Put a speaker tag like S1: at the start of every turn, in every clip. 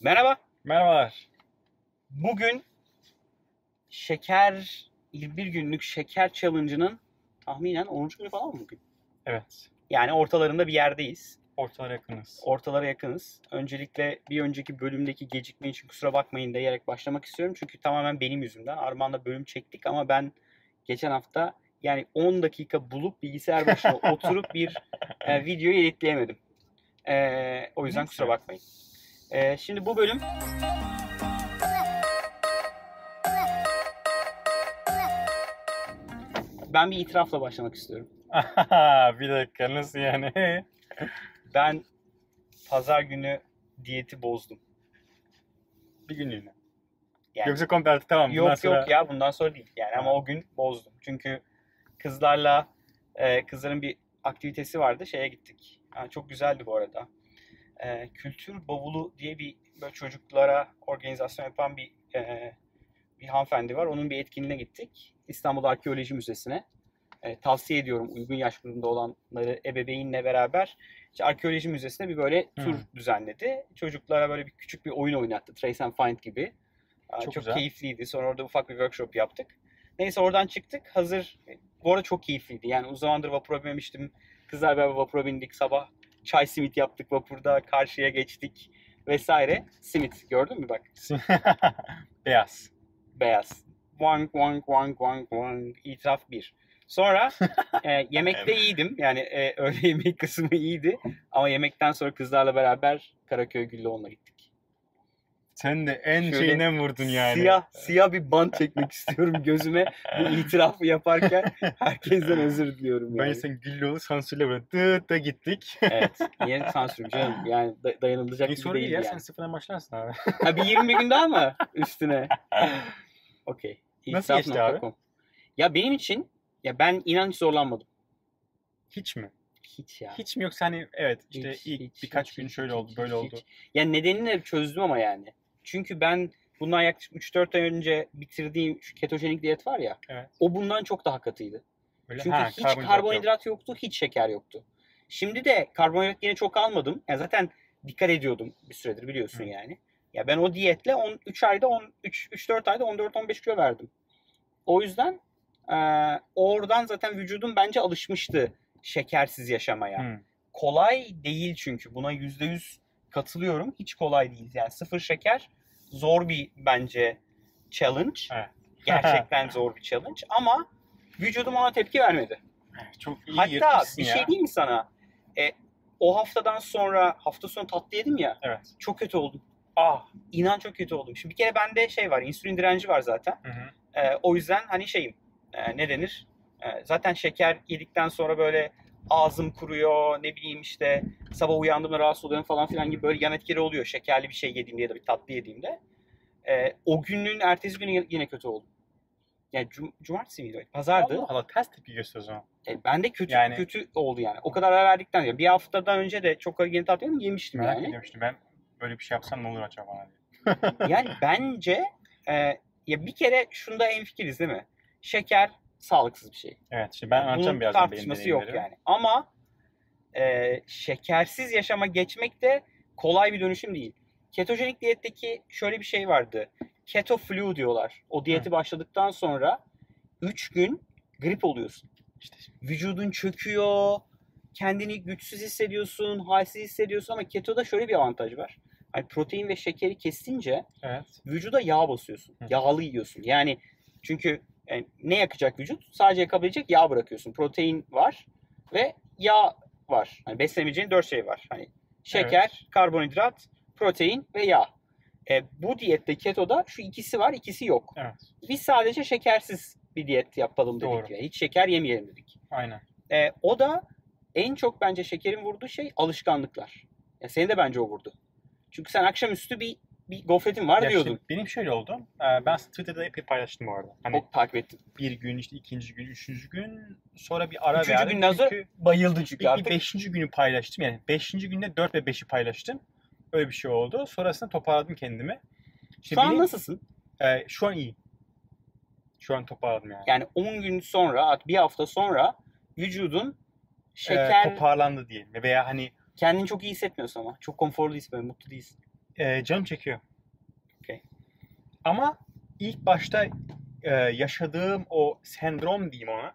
S1: Merhaba.
S2: Merhabalar.
S1: Bugün şeker 21 günlük şeker challenge'ının tahminen 10. günü falan mı bugün?
S2: Evet.
S1: Yani ortalarında bir yerdeyiz.
S2: Ortalara yakınız.
S1: Ortalara yakınız. Öncelikle bir önceki bölümdeki gecikme için kusura bakmayın diyerek başlamak istiyorum. Çünkü tamamen benim yüzümden. Armağan'la bölüm çektik ama ben geçen hafta yani 10 dakika bulup bilgisayar başına oturup bir e, videoyu editleyemedim. E, o yüzden
S2: Neyse.
S1: kusura bakmayın. E, şimdi bu bölüm ben bir itirafla başlamak istiyorum.
S2: bir dakika nasıl yani?
S1: Ben pazar günü diyeti bozdum.
S2: bir günlüğüne.
S1: Yani-
S2: Yoksa komple artık tamam. bundan
S1: yok
S2: sonra-
S1: yok ya bundan sonra değil yani ama o gün bozdum. Çünkü kızlarla e, kızların bir aktivitesi vardı şeye gittik. Ha, çok güzeldi bu arada. E, Kültür Bavulu diye bir böyle çocuklara organizasyon yapan bir e, bir hanımefendi var. Onun bir etkinliğine gittik. İstanbul Arkeoloji Müzesi'ne. E, tavsiye ediyorum uygun yaş grubunda olanları ebeveynle beraber işte arkeoloji müzesine bir böyle tur
S2: Hı.
S1: düzenledi. Çocuklara böyle bir küçük bir oyun oynattı. Trace and Find gibi. Aa,
S2: Çok
S1: Çok,
S2: güzel.
S1: keyifliydi. Sonra orada ufak bir workshop yaptık. Neyse oradan çıktık. Hazır. Bu arada çok keyifliydi. Yani uzun zamandır vapura binmemiştim. Kızlar beraber vapura bindik. Sabah çay simit yaptık vapurda. Karşıya geçtik vesaire. Simit gördün mü bak.
S2: Beyaz.
S1: Beyaz. Wang wang wang wang wang. İtiraf bir. Sonra e, yemekte iyiydim. Yani e, öğle yemek kısmı iyiydi. Ama yemekten sonra kızlarla beraber Karaköy Güllüoğlu'na gittik.
S2: Sen de en
S1: Şöyle
S2: şeyine vurdun yani.
S1: Siyah siyah bir bant çekmek istiyorum gözüme bu itirafı yaparken herkesten özür diliyorum
S2: Ben
S1: yani.
S2: sen Güllüoğlu sansürle böyle tıt da gittik.
S1: Evet. Niye sansürüm canım? Yani da- dayanılacak
S2: Bir
S1: gibi
S2: soru
S1: değil
S2: değil ya
S1: yani.
S2: sen sıfırdan başlarsın abi.
S1: Ha bir 20 gün daha mı üstüne? Okey.
S2: Nasıl geçti abi?
S1: İtiraf.com. Ya benim için ya ben inan hiç zorlanmadım.
S2: Hiç mi?
S1: Hiç ya.
S2: Hiç mi yoksa hani evet işte
S1: Hiç,
S2: ilk
S1: hiç,
S2: birkaç
S1: hiç,
S2: gün
S1: hiç,
S2: şöyle
S1: hiç,
S2: oldu
S1: hiç,
S2: böyle
S1: hiç.
S2: oldu.
S1: Ya nedenini de çözdüm ama yani. Çünkü ben bundan yaklaşık 3-4 ay önce bitirdiğim şu ketojenik diyet var ya.
S2: Evet.
S1: O bundan çok daha katıydı.
S2: Böyle,
S1: Çünkü
S2: ha,
S1: hiç
S2: karbonhidrat yok.
S1: karbonhidrat, yoktu, hiç şeker yoktu. Şimdi de karbonhidrat yine çok almadım. Ya zaten dikkat ediyordum bir süredir biliyorsun
S2: Hı.
S1: yani. Ya ben o diyetle 13 ayda 13 3 4 ayda 14 15 kilo verdim. O yüzden eee, oradan zaten vücudum bence alışmıştı şekersiz yaşamaya.
S2: Hı.
S1: Kolay değil çünkü buna %100 katılıyorum. Hiç kolay değil. Yani sıfır şeker zor bir bence challenge.
S2: Evet.
S1: Gerçekten zor bir challenge ama vücudum ona tepki vermedi.
S2: Çok iyi
S1: Hatta
S2: yırtmışsın
S1: bir
S2: ya.
S1: şey diyeyim mi sana? E, o haftadan sonra hafta sonu tatlı yedim ya.
S2: Evet.
S1: Çok kötü oldum.
S2: Ah.
S1: İnan çok kötü oldum. Şimdi bir kere bende şey var. insülin direnci var zaten.
S2: Hı hı.
S1: E, o yüzden hani şeyim. e, ne denir? E, zaten şeker yedikten sonra böyle ağzım kuruyor. Ne bileyim işte sabah uyandığımda rahatsız oluyorum falan filan gibi böyle yan etkileri oluyor. Şekerli bir şey yediğimde ya da bir tatlı yediğimde. E, o günün ertesi günü yine kötü oldum. Yani cum- cumartesi miydi? Pazardı.
S2: Allah Allah ters tepki göster o zaman.
S1: E, ben de kötü
S2: Yani-
S1: kötü oldu yani. O kadar ara verdikten sonra. Bir haftadan önce de çok yeni tatlı yedim, yemiştim
S2: Merak
S1: yani.
S2: ediyorum işte ben böyle bir şey yapsam ne olur acaba diye.
S1: yani bence e, ya bir kere şunda hemfikiriz değil mi? Şeker sağlıksız bir şey.
S2: Evet işte ben anlatacağım
S1: Bunun
S2: birazdan benim
S1: tartışması yok
S2: deneyimlerimi.
S1: yani. Ama e, şekersiz yaşama geçmek de kolay bir dönüşüm değil. Ketojenik diyetteki şöyle bir şey vardı. Keto flu diyorlar. O diyeti başladıktan sonra 3 gün grip oluyorsun.
S2: İşte
S1: vücudun çöküyor, kendini güçsüz hissediyorsun, halsiz hissediyorsun ama ketoda şöyle bir avantaj var. Hani protein ve şekeri kesince
S2: evet.
S1: vücuda yağ basıyorsun.
S2: Hı.
S1: Yağlı yiyorsun. Yani çünkü e, ne yakacak vücut? Sadece yakabilecek yağ bırakıyorsun. Protein var ve yağ var. Hani beslenebileceğin dört şey var. Hani şeker, karbonhidrat, protein ve yağ. E, bu diyette ketoda şu ikisi var, ikisi yok.
S2: Evet.
S1: Biz sadece şekersiz bir diyet yapalım dedik.
S2: Doğru.
S1: ya. Hiç şeker yemeyelim dedik.
S2: Aynen.
S1: E, o da en çok bence şekerin vurduğu şey alışkanlıklar. Ya senin de bence o vurdu. Çünkü sen akşamüstü bir bir gofretin var
S2: Ya işte
S1: diyordun.
S2: benim şöyle oldu. Ee, Ben Twitter'da epey paylaştım bu arada. Hani
S1: Çok takip ettim.
S2: bir gün işte ikinci gün, üçüncü gün sonra bir ara
S1: Üçüncü
S2: verdim.
S1: günden sonra
S2: Çünkü
S1: Bayıldı çünkü
S2: bir, bir
S1: artık.
S2: beşinci günü paylaştım. Yani beşinci günde dört ve beşi paylaştım. Öyle bir şey oldu. Sonrasında toparladım kendimi. İşte
S1: Şu an
S2: benim-
S1: nasılsın?
S2: e, şu an iyi. Şu an toparladım yani.
S1: Yani 10 gün sonra, bir hafta sonra vücudun
S2: Ee,
S1: şeker,
S2: toparlandı diyelim. Veya hani
S1: kendini çok iyi hissetmiyorsun ama. Çok konforlu hissetmiyorsun, mutlu değilsin.
S2: e, canım çekiyor.
S1: Okey.
S2: Ama ilk başta e, yaşadığım o sendrom diyeyim ona.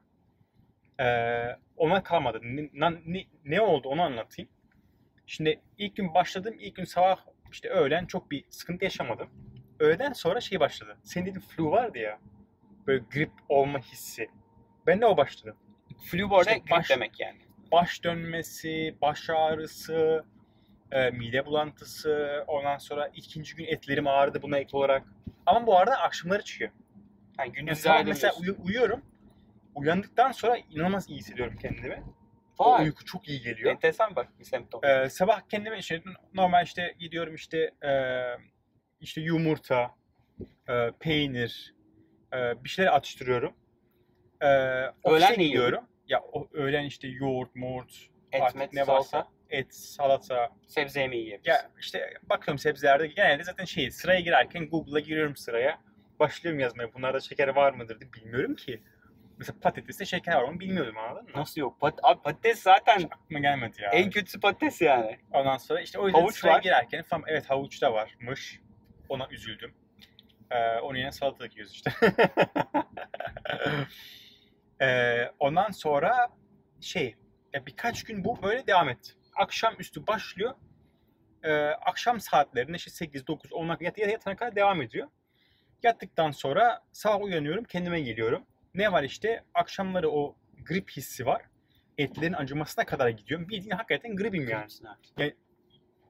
S2: e, ona kalmadı. Ne, na- ne, ne oldu onu anlatayım. Şimdi ilk gün başladım. ilk gün sabah işte öğlen çok bir sıkıntı yaşamadım. Öğleden sonra şey başladı. Senin dediğin flu vardı ya. Böyle grip olma hissi. Ben de o başladı
S1: Flu bu arada
S2: İşte
S1: grip
S2: baş-
S1: demek yani.
S2: baş dönmesi, baş ağrısı, e, mide bulantısı, ondan sonra ikinci gün etlerim ağrıdı buna ek olarak. Ama bu arada akşamları çıkıyor.
S1: Yani
S2: Yani
S1: gündüz
S2: sabah mesela uyu- uyuyorum. Uyandıktan sonra inanılmaz iyi hissediyorum kendimi. O uyku çok iyi geliyor.
S1: Enteresan bak bir semptom.
S2: E, sabah kendime işte normal işte gidiyorum işte e, işte yumurta, e, peynir, e, bir şeyler atıştırıyorum. E, ofise
S1: ne yiyorsun?
S2: gidiyorum. Ya o, öğlen işte yoğurt, moğurt,
S1: Et,
S2: artık
S1: met,
S2: ne varsa.
S1: salsa,
S2: et, salata.
S1: sebze yemeği yiyebilirsin.
S2: Ya işte bakıyorum sebzelerde genelde zaten şey sıraya girerken Google'a giriyorum sıraya. Başlıyorum yazmaya. Bunlarda şeker var mıdır diye bilmiyorum ki. Mesela patateste şeker var mı bilmiyordum anladın mı?
S1: Nasıl yok? Pat abi patates zaten
S2: Aklıma gelmedi ya.
S1: en kötüsü patates yani.
S2: Ondan sonra işte o yüzden
S1: Havuç
S2: sıraya
S1: var.
S2: girerken falan evet havuç da varmış. Ona üzüldüm. Ee, onun yerine salata yiyoruz işte. ee, ondan sonra şey ya birkaç gün bu böyle devam etti. Akşam üstü başlıyor. Ee, akşam saatlerinde işte 8, 9, 10 yat, yat, yatana kadar devam ediyor. Yattıktan sonra sabah uyanıyorum kendime geliyorum. Ne var işte akşamları o grip hissi var. Etlerin acımasına kadar gidiyorum. Bildiğin hakikaten gripim yani
S1: Görürsün abi.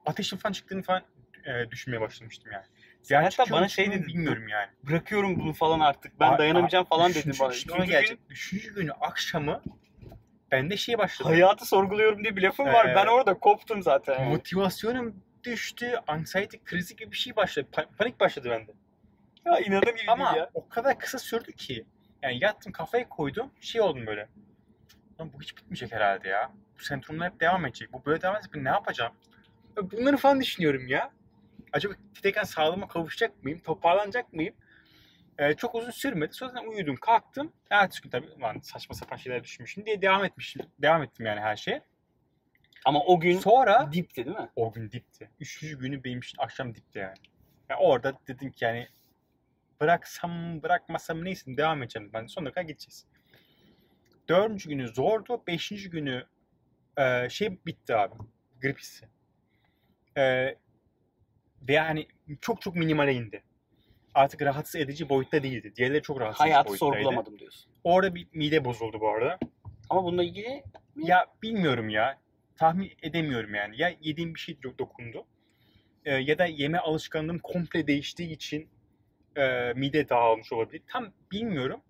S2: ateşin falan çıktığını falan e, düşünmeye başlamıştım yani.
S1: Sen
S2: Gerçi
S1: hatta bana şey
S2: çıkıyor mu
S1: dedin.
S2: bilmiyorum yani.
S1: Bırakıyorum bunu falan artık. Ben
S2: Ay-
S1: dayanamayacağım falan dedim
S2: Üçüncü-
S1: bana.
S2: işte
S1: Üçüncü
S2: ona
S1: gün
S2: gelecek. Üçüncü günü akşamı bende şey başladı.
S1: hayatı sorguluyorum diye bir lafım var.
S2: Ee,
S1: Ben orada koptum zaten. yani.
S2: Motivasyonum düştü. Anxiety krizi gibi bir şey başladı. Pa- panik başladı bende.
S1: Ya inanın gibi
S2: Ama
S1: değil ya.
S2: o kadar kısa sürdü ki. Yani yattım kafaya koydum. Şey oldum böyle. Lan bu hiç bitmeyecek herhalde ya. Bu sendromlar hep devam edecek. Bu böyle devam edecek. Ben ne yapacağım? Bunları falan düşünüyorum ya. Acaba tekrar sağlığıma kavuşacak mıyım? Toparlanacak mıyım? Ee, çok uzun sürmedi. Sonra zaten uyudum, kalktım. Ertesi gün tabii "Ulan saçma sapan şeyler düşünmüşüm diye devam etmişim. Devam ettim yani her şeye.
S1: Ama o gün
S2: Sonra
S1: dipti değil mi?
S2: o gün dipti. Üçüncü günü benim için akşam dipti yani. Yani orada dedim ki yani bıraksam bırakmasam neyse devam edeceğim. Ben de sonuna kadar gideceğiz. Dördüncü günü zordu. Beşinci günü e, şey bitti abi. Grip hissi. E, ve yani çok çok minimale indi. Artık rahatsız edici boyutta değildi. Diğerleri çok rahatsız
S1: Hayatı
S2: edici boyuttaydı.
S1: sorgulamadım diyorsun.
S2: Orada bir mide bozuldu bu arada.
S1: Ama bununla ilgili
S2: Ya bilmiyorum ya. Tahmin edemiyorum yani. Ya yediğim bir şey do- dokundu. e, ya da yeme alışkanlığım komple değiştiği için e, mide dağılmış olabilir. Tam bilmiyorum.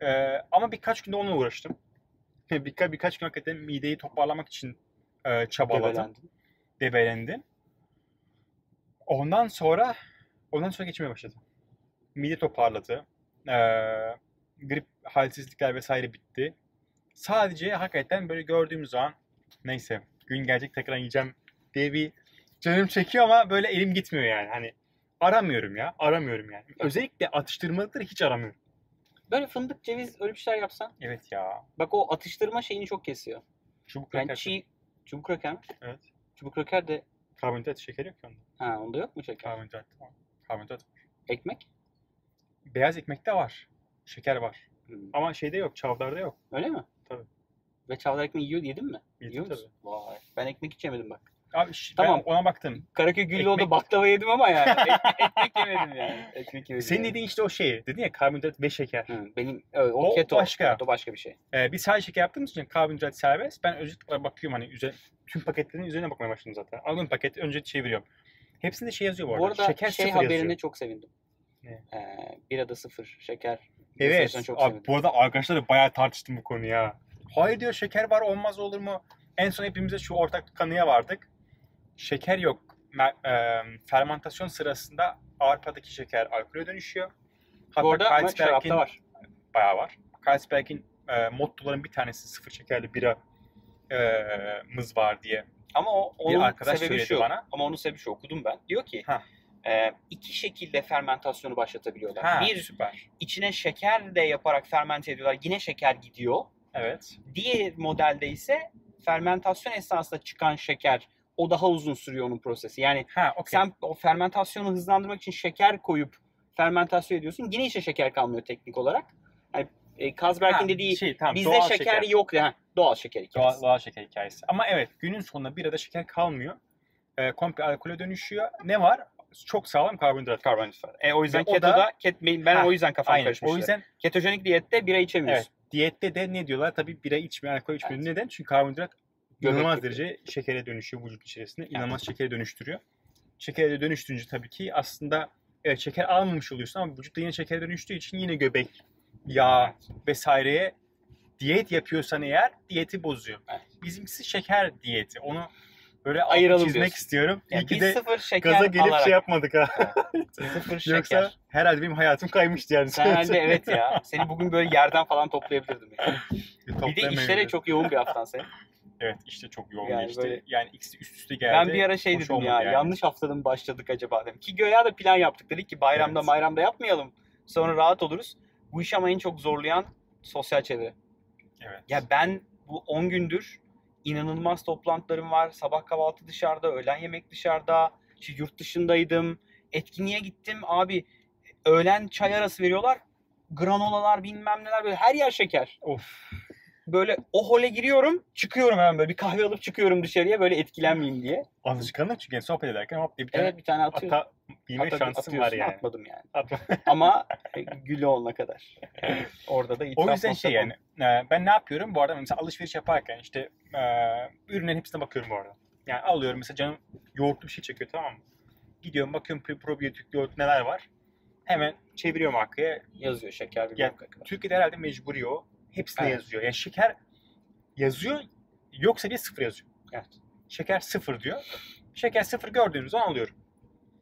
S2: E, ama birkaç günde onunla uğraştım. Birka, birkaç gün hakikaten mideyi toparlamak için e, çabaladım.
S1: debelendim.
S2: Debelendim. Ondan sonra ondan sonra geçmeye başladı. Mide toparladı. E, grip halsizlikler vesaire bitti. Sadece hakikaten böyle gördüğüm zaman neyse gün gelecek tekrar yiyeceğim diye bir canım çekiyor ama böyle elim gitmiyor yani. Hani aramıyorum ya. Aramıyorum yani. Özellikle atıştırmalıkları hiç aramıyorum.
S1: Böyle fındık, ceviz öyle bir şeyler yapsan.
S2: Evet ya.
S1: Bak o atıştırma şeyini çok kesiyor.
S2: Çubuk
S1: Yani
S2: kraker.
S1: çiğ... Çubuk kraker mi?
S2: Evet.
S1: Çubuk kraker de...
S2: Karbonhidrat şekeri yok ki onda.
S1: Ha onda yok mu şeker?
S2: Karbonhidrat. Karbonhidrat.
S1: Ekmek?
S2: Beyaz ekmekte var. Şeker var.
S1: Hı.
S2: Ama şeyde yok. Çavdarda yok.
S1: Hmm. Öyle mi?
S2: Tabii.
S1: Ve çavdar ekmeği yiyor, yedin mi?
S2: Yedim
S1: Yiyor musun? Vay. Ben ekmek hiç yemedim bak.
S2: Abi şi-
S1: Tamam.
S2: ben ona baktım.
S1: Karaköy Güllüoğlu'da
S2: Ekmek-
S1: baklava yedim ama yani. Ekmek, ekmek yemedim yani. Ekmek yemedim.
S2: Senin
S1: yani.
S2: dediğin işte o şey. Dedin ya karbonhidrat ve şeker.
S1: Hı, benim evet, o,
S2: O
S1: keto.
S2: başka.
S1: O başka bir şey.
S2: Ee, biz sadece şeker yaptığımız için karbonhidrat serbest. Ben özellikle bakıyorum hani üzeri, tüm paketlerin üzerine bakmaya başladım zaten. Aldığım paket önce çeviriyorum. Hepsinde şey yazıyor bu arada.
S1: Bu arada
S2: şeker
S1: şey
S2: sıfır
S1: haberine
S2: yazıyor.
S1: çok sevindim.
S2: Ne?
S1: Ee, bir da sıfır şeker.
S2: Evet.
S1: Gerçekten çok
S2: abi,
S1: sevindim.
S2: bu arada arkadaşlarla bayağı tartıştım bu konuyu ya. Hayır diyor şeker var olmaz olur mu? En son hepimize şu ortak kanıya vardık. Şeker yok. Me- e, fermentasyon sırasında arpadaki şeker alkole dönüşüyor. Hatta
S1: Bu arada ama
S2: Carlsberg'in-
S1: şarapta var.
S2: bayağı var. Carlsberg'in e, mottoların bir tanesi sıfır şekerli bira e, mız var diye.
S1: Ama o,
S2: Bir
S1: onun
S2: arkadaş
S1: sebebi
S2: söyledi
S1: şu.
S2: bana.
S1: Ama onun sebebi şu okudum ben. Diyor ki
S2: Ha.
S1: e, iki şekilde fermentasyonu başlatabiliyorlar.
S2: Ha,
S1: Bir
S2: süper.
S1: içine şeker de yaparak fermente ediyorlar. Yine şeker gidiyor.
S2: Evet.
S1: Diğer modelde ise fermentasyon esnasında çıkan şeker o daha uzun sürüyor onun prosesi. Yani
S2: Ha okey.
S1: sen o fermentasyonu hızlandırmak için şeker koyup fermentasyon ediyorsun. Yine işte şeker kalmıyor teknik olarak. Hani e, Kazberk'in
S2: Ha,
S1: dediği
S2: şey, tamam,
S1: bizde
S2: doğal
S1: şeker, yok ya. Doğal şeker hikayesi.
S2: Doğal, doğal şeker hikayesi. Ama evet günün sonunda birada şeker kalmıyor. Ee, komple alkole dönüşüyor. Ne var? Çok sağlam karbonhidrat.
S1: karbonhidrat. E o yüzden
S2: Ve o
S1: ketoda
S2: da-
S1: ket- ben
S2: Ha,
S1: o yüzden kafam
S2: Aynen.
S1: karışmıştı.
S2: O yüzden
S1: ketojenik diyette bira içemiyorsun.
S2: evet, diyette de ne diyorlar? Tabii bira içmiyor, alkol içmiyor.
S1: Evet.
S2: Neden? Çünkü karbonhidrat
S1: Göbek
S2: inanılmaz
S1: yapıyor.
S2: derece şekere dönüşüyor vücut içerisinde. İnanılmaz şekere dönüştürüyor. Şekere de dönüştürünce tabii ki aslında evet, şeker almamış oluyorsun ama vücutta yine şekere dönüştüğü için yine göbek, yağ vesaireye diyet yapıyorsan eğer diyeti bozuyor.
S1: Evet.
S2: Bizimkisi şeker diyeti. Onu böyle
S1: Ayıralım
S2: Ayıralım çizmek
S1: diyorsun.
S2: istiyorum.
S1: Yani
S2: İyi ki
S1: biz
S2: de
S1: sıfır şeker
S2: gaza gelip
S1: alarak.
S2: şey yapmadık ha.
S1: sıfır şeker.
S2: Yoksa herhalde benim hayatım kaymıştı yani. E,
S1: Sen herhalde evet ya. Seni bugün böyle yerden falan toplayabilirdim. Yani. Bir de işlere
S2: Toplayamayabilirim.
S1: çok yoğun bir haftan senin.
S2: Evet işte çok yoğun
S1: Yani
S2: yani işte.
S1: böyle-
S2: Yani ikisi üst üste geldi.
S1: Ben bir ara şey
S2: Hoş
S1: dedim
S2: olmadı
S1: ya.
S2: yani.
S1: Yanlış haftada mı başladık acaba dedim. Ki göya da plan yaptık. Dedik ki bayramda
S2: Evet.
S1: bayramda yapmayalım. Sonra rahat oluruz. Bu iş ama en çok zorlayan sosyal çevre.
S2: Evet.
S1: Ya ben bu 10 gündür inanılmaz toplantılarım var. Sabah kahvaltı dışarıda, öğlen yemek dışarıda. İşte yurt dışındaydım. Etkinliğe gittim. Abi öğlen çay arası veriyorlar. Granolalar bilmem neler böyle her yer şeker.
S2: Of.
S1: Böyle o hole giriyorum çıkıyorum hemen böyle bir kahve alıp çıkıyorum dışarıya böyle etkilenmeyeyim diye.
S2: Alışkanlık çünkü yani sohbet ederken hop diye bir tane
S1: Evet bir tane atıyorum.
S2: ata bilme
S1: Ata-
S2: şansım var
S1: atıyorsun,
S2: yani.
S1: Atmadım yani.
S2: Atma.
S1: Ama e, gülü olana kadar. Orada da itiraf
S2: O yüzden şey
S1: nokta
S2: yani e, ben ne yapıyorum bu arada mesela alışveriş yaparken işte e, ürünlerin hepsine bakıyorum bu arada. Yani alıyorum mesela canım yoğurtlu bir şey çekiyor tamam mı? Gidiyorum bakıyorum pre- probiyotik yoğurt neler var. Hemen çeviriyorum arkaya
S1: yazıyor şeker bir
S2: Yani-
S1: kadar.
S2: Türkiye'de herhalde mecburi o. Hepsine
S1: Evet.
S2: yazıyor. Yani şeker yazıyor yoksa bir sıfır yazıyor.
S1: Evet.
S2: Şeker sıfır diyor. Şeker sıfır gördüğünüz zaman alıyorum.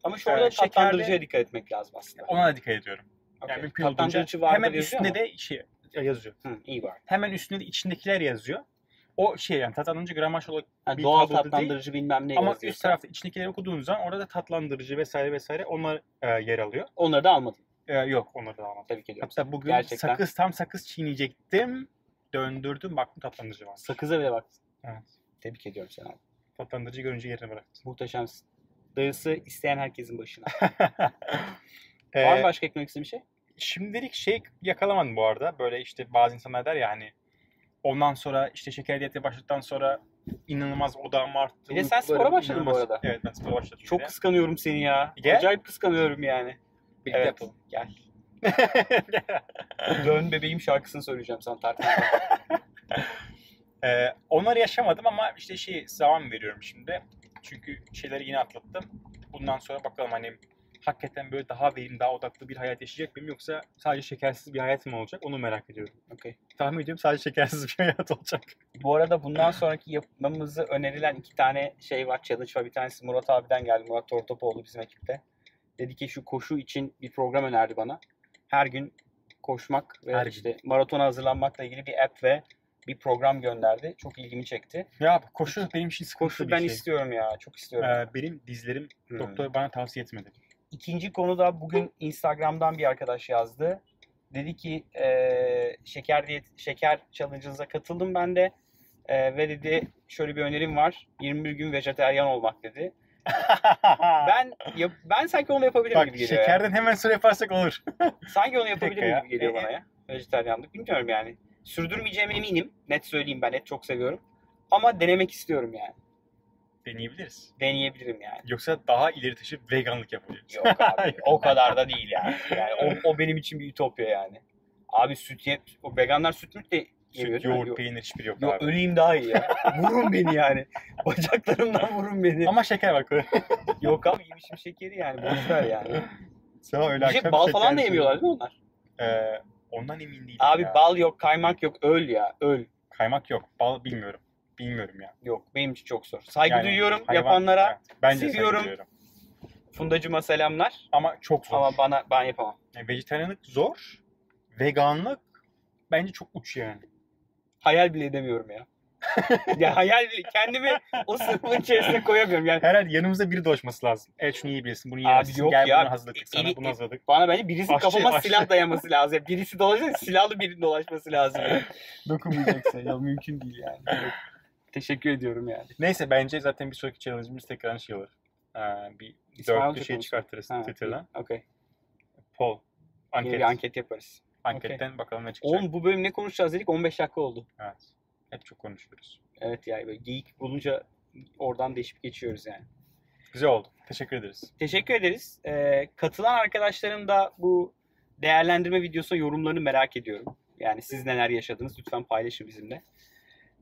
S1: Ama şu anda
S2: Yani şekerde-
S1: tatlandırıcıya dikkat etmek lazım aslında.
S2: Ona da dikkat ediyorum. Yani
S1: Okey.
S2: mümkün olduğunca
S1: Tatlandırıcı vardır
S2: hemen
S1: yazıyor
S2: üstünde
S1: ama.
S2: de şey yazıyor.
S1: Hı, iyi var.
S2: Hemen üstünde de içindekiler yazıyor. O şey yani tatlandırıcı gramaj olarak
S1: Yani
S2: Bir
S1: doğal
S2: tabloda
S1: tatlandırıcı bilmem ne
S2: ama
S1: yazıyor.
S2: üst tarafta içindekileri okuduğunuz zaman orada da tatlandırıcı vesaire vesaire onlar e, yer alıyor.
S1: Onları da almadım.
S2: E, yok onları da almadım.
S1: Tebrik ediyorum.
S2: Hatta bugün
S1: Gerçekten.
S2: sakız tam sakız çiğneyecektim. Döndürdüm baktım tatlandırıcı var.
S1: Sakıza bile bak.
S2: Evet.
S1: Tebrik ediyorum seni abi.
S2: Tatlandırıcı görünce yerine bıraktım.
S1: Muhteşemsin. Dayısı isteyen herkesin başına.
S2: E,
S1: Var mı başka eklemek istediğin bir şey?
S2: şimdilik şey yakalamadım bu arada. Böyle işte bazı insanlar der ya hani ondan sonra işte şeker diyete başladıktan sonra inanılmaz odağım arttı.
S1: Bir de sen
S2: uykularım
S1: spora başladın bu
S2: inanılmaz-
S1: arada.
S2: Evet ben spora başladım.
S1: Çok
S2: bir de.
S1: kıskanıyorum seni ya.
S2: Gel.
S1: Acayip kıskanıyorum yani.
S2: Birlikte
S1: Evet.
S2: yapalım.
S1: Gel. Dön bebeğim şarkısını söyleyeceğim sana tartışmadan.
S2: Ee, onları yaşamadım ama işte şey zaman veriyorum şimdi. Çünkü şeyleri yine atlattım. Bundan sonra bakalım hani hakikaten böyle daha verimli, daha odaklı bir hayat yaşayacak mıyım yoksa sadece şekersiz bir hayat mı olacak onu merak ediyorum.
S1: Okey.
S2: Tahmin ediyorum sadece şekersiz bir hayat olacak.
S1: Bu arada bundan sonraki yapmamızı önerilen iki tane şey var, challenge var. Bir tanesi Murat abiden geldi. Murat Tortopoğlu bizim ekipte. Dedi ki şu koşu için bir program önerdi bana. Her gün koşmak ve
S2: Her gün.
S1: işte maratona hazırlanmakla ilgili bir app ve bir program gönderdi. Çok ilgimi çekti.
S2: Ya koşu benim için sıkıntı
S1: Koşu
S2: bir
S1: ben
S2: şey.
S1: istiyorum ya. Çok istiyorum.
S2: Ee, benim dizlerim
S1: Hmm.
S2: doktor bana tavsiye etmedi.
S1: İkinci konu da bugün Instagram'dan bir arkadaş yazdı. Dedi ki eee, şeker diyet şeker challenge'ınıza katıldım ben de. Eee, ve dedi şöyle bir önerim var. 21 gün vejeteryan olmak dedi. Ben yap- ben sanki onu yapabilirim
S2: Bak
S1: gibi geliyor. ya.
S2: şekerden hemen sonra yaparsak olur.
S1: Sanki onu
S2: dakika
S1: yapabilirim
S2: ya.
S1: gibi geliyor
S2: E,
S1: bana ya. Vejeteryanlık bilmiyorum yani. Sürdürmeyeceğime eminim. Net söyleyeyim ben et çok seviyorum. Ama denemek istiyorum yani.
S2: Deneyebiliriz.
S1: Deneyebilirim yani.
S2: Yoksa daha ileri taşıp veganlık yapabiliriz.
S1: Yok abi. o kadar da değil yani. yani o, o benim için bir ütopya yani. Abi süt ye, o veganlar süt mü de yemiyor
S2: Süt,
S1: değil mi?
S2: yoğurt,
S1: Yok.
S2: peynir hiçbiri yok
S1: Yok,
S2: abi.
S1: öleyim daha iyi ya. Vurun beni yani. Bacaklarımdan vurun beni.
S2: Ama şeker bak.
S1: Yok abi yemişim şekeri yani. Boşver yani.
S2: Sana öyle
S1: Bir şey,
S2: akşam
S1: bal
S2: şeker
S1: falan da
S2: yedim.
S1: yemiyorlar değil mi onlar?
S2: Ee, ondan emin değilim
S1: Abi
S2: ya.
S1: bal yok, kaymak yok. Öl ya. Öl.
S2: Kaymak yok. Bal bilmiyorum. Bilmiyorum ya.
S1: Yok. Benim için çok zor. Saygı
S2: Yani
S1: duyuyorum
S2: hayvan-
S1: yapanlara.
S2: Evet, bence saygı
S1: seviyorum.
S2: duyuyorum.
S1: Fundacıma selamlar.
S2: Ama çok zor.
S1: Ama bana ben yapamam.
S2: Yani vejetaryenlik zor. Veganlık bence çok uç yani.
S1: Hayal bile edemiyorum ya. ya hayal bile kendimi o sınıfın içerisine koyamıyorum. Yani
S2: Herhalde yanımızda biri dolaşması lazım. Evet şunu yiyebilirsin, bunu
S1: Abi
S2: yiyemezsin.
S1: yok
S2: Gel
S1: ya.
S2: bunu hazırladık sana,
S1: Eli-
S2: bunu hazırladık.
S1: Bana bence birisi
S2: Aşçı,
S1: kafama
S2: aşçı.
S1: silah dayaması lazım. Yani Birisi dolaşacak silahlı birinin dolaşması lazım. Yani. Dokunmayacaksın ya mümkün değil yani. Teşekkür ediyorum yani.
S2: Neyse bence zaten bir sonraki challenge'ımız tekrar şey olur. Ee, bir
S1: İsmail
S2: dörtlü
S1: Hoca
S2: şey
S1: konusu.
S2: çıkartırız
S1: Ha,
S2: Twitter'dan.
S1: iyi, Okey. Yine
S2: Poll. Anket.
S1: bir anket yaparız.
S2: Anketten bakalım ne çıkacak.
S1: Oğlum bu bölüm ne konuşacağız dedik 15 dakika oldu.
S2: Evet. Hep çok konuşuyoruz.
S1: Evet yani böyle geyik bulunca oradan değişip geçiyoruz yani.
S2: Güzel oldu. Teşekkür ederiz.
S1: Teşekkür ederiz. Ee, katılan arkadaşların da bu değerlendirme videosuna yorumlarını merak ediyorum. Yani siz neler yaşadınız lütfen paylaşın bizimle.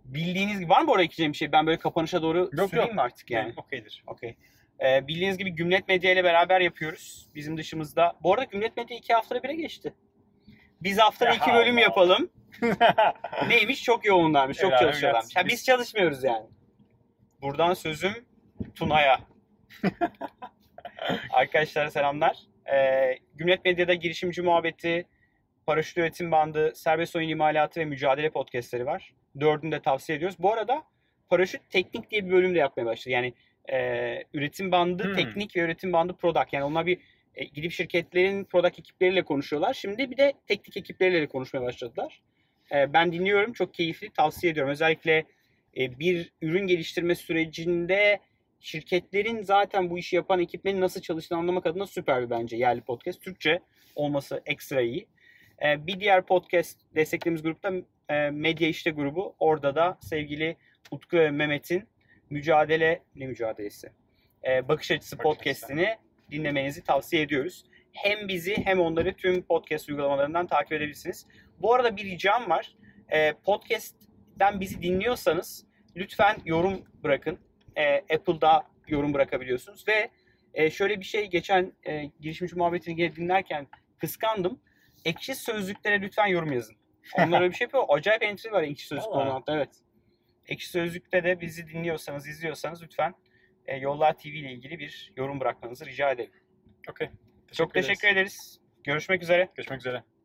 S1: Bildiğiniz gibi var mı bu arada ekleyeceğim bir şey? Ben böyle kapanışa doğru
S2: Yok,
S1: süreyim
S2: yok.
S1: mi artık yani?
S2: Yani okeydir.
S1: Okey. Ee, bildiğiniz gibi Gümlet Medya ile beraber yapıyoruz. Bizim dışımızda. Bu arada Gümlet Medya iki haftada bire geçti. Biz haftada iki
S2: Ya
S1: bölüm
S2: Allah.
S1: yapalım. Neymiş? Çok yoğunlarmış, çok
S2: Helal
S1: çalışıyorlarmış.
S2: olsun.
S1: Ha, biz çalışmıyoruz yani. Buradan sözüm Tuna'ya. Arkadaşlara selamlar. Ee, Gümlet Medya'da girişimci muhabbeti, paraşüt üretim bandı, serbest oyun imalatı ve mücadele podcastleri var. Dördünü de tavsiye ediyoruz. Bu arada paraşüt teknik diye bir bölüm de yapmaya başladı. Yani e, üretim bandı
S2: Hmm.
S1: teknik ve üretim bandı product. Yani onlar bir e, gidip şirketlerin product ekipleriyle konuşuyorlar. Şimdi bir de teknik ekipleriyle de konuşmaya başladılar. E, ben dinliyorum. Çok keyifli. Tavsiye ediyorum. Özellikle e, bir ürün geliştirme sürecinde şirketlerin zaten bu işi yapan ekiplerin nasıl çalıştığını anlamak adına süper bir bence yerli podcast. Türkçe olması ekstra iyi. E, bir diğer podcast desteklediğimiz grupta e, Medya İşte grubu. Orada da sevgili Utku ve Mehmet'in mücadele ne mücadelesi? E, bakış açısı
S2: Bakış açısı.
S1: podcast'ini dinlemenizi tavsiye ediyoruz. Hem bizi hem onları tüm podcast uygulamalarından takip edebilirsiniz. Bu arada bir ricam var. E, podcast'ten bizi dinliyorsanız lütfen yorum bırakın. E, Apple'da yorum bırakabiliyorsunuz ve e, şöyle bir şey geçen e, girişimci muhabbetini yine dinlerken kıskandım. Ekşi sözlüklere lütfen yorum yazın. Onlar öyle bir şey yapıyor. Acayip entry var ekşi sözlük
S2: Vallahi.
S1: konularda evet. Ekşi Sözlük'te de bizi dinliyorsanız, izliyorsanız lütfen e, Yollar TV ile ilgili bir yorum bırakmanızı rica ederim.
S2: Okey.
S1: Çok teşekkür ederiz. Görüşmek üzere.
S2: Görüşmek üzere.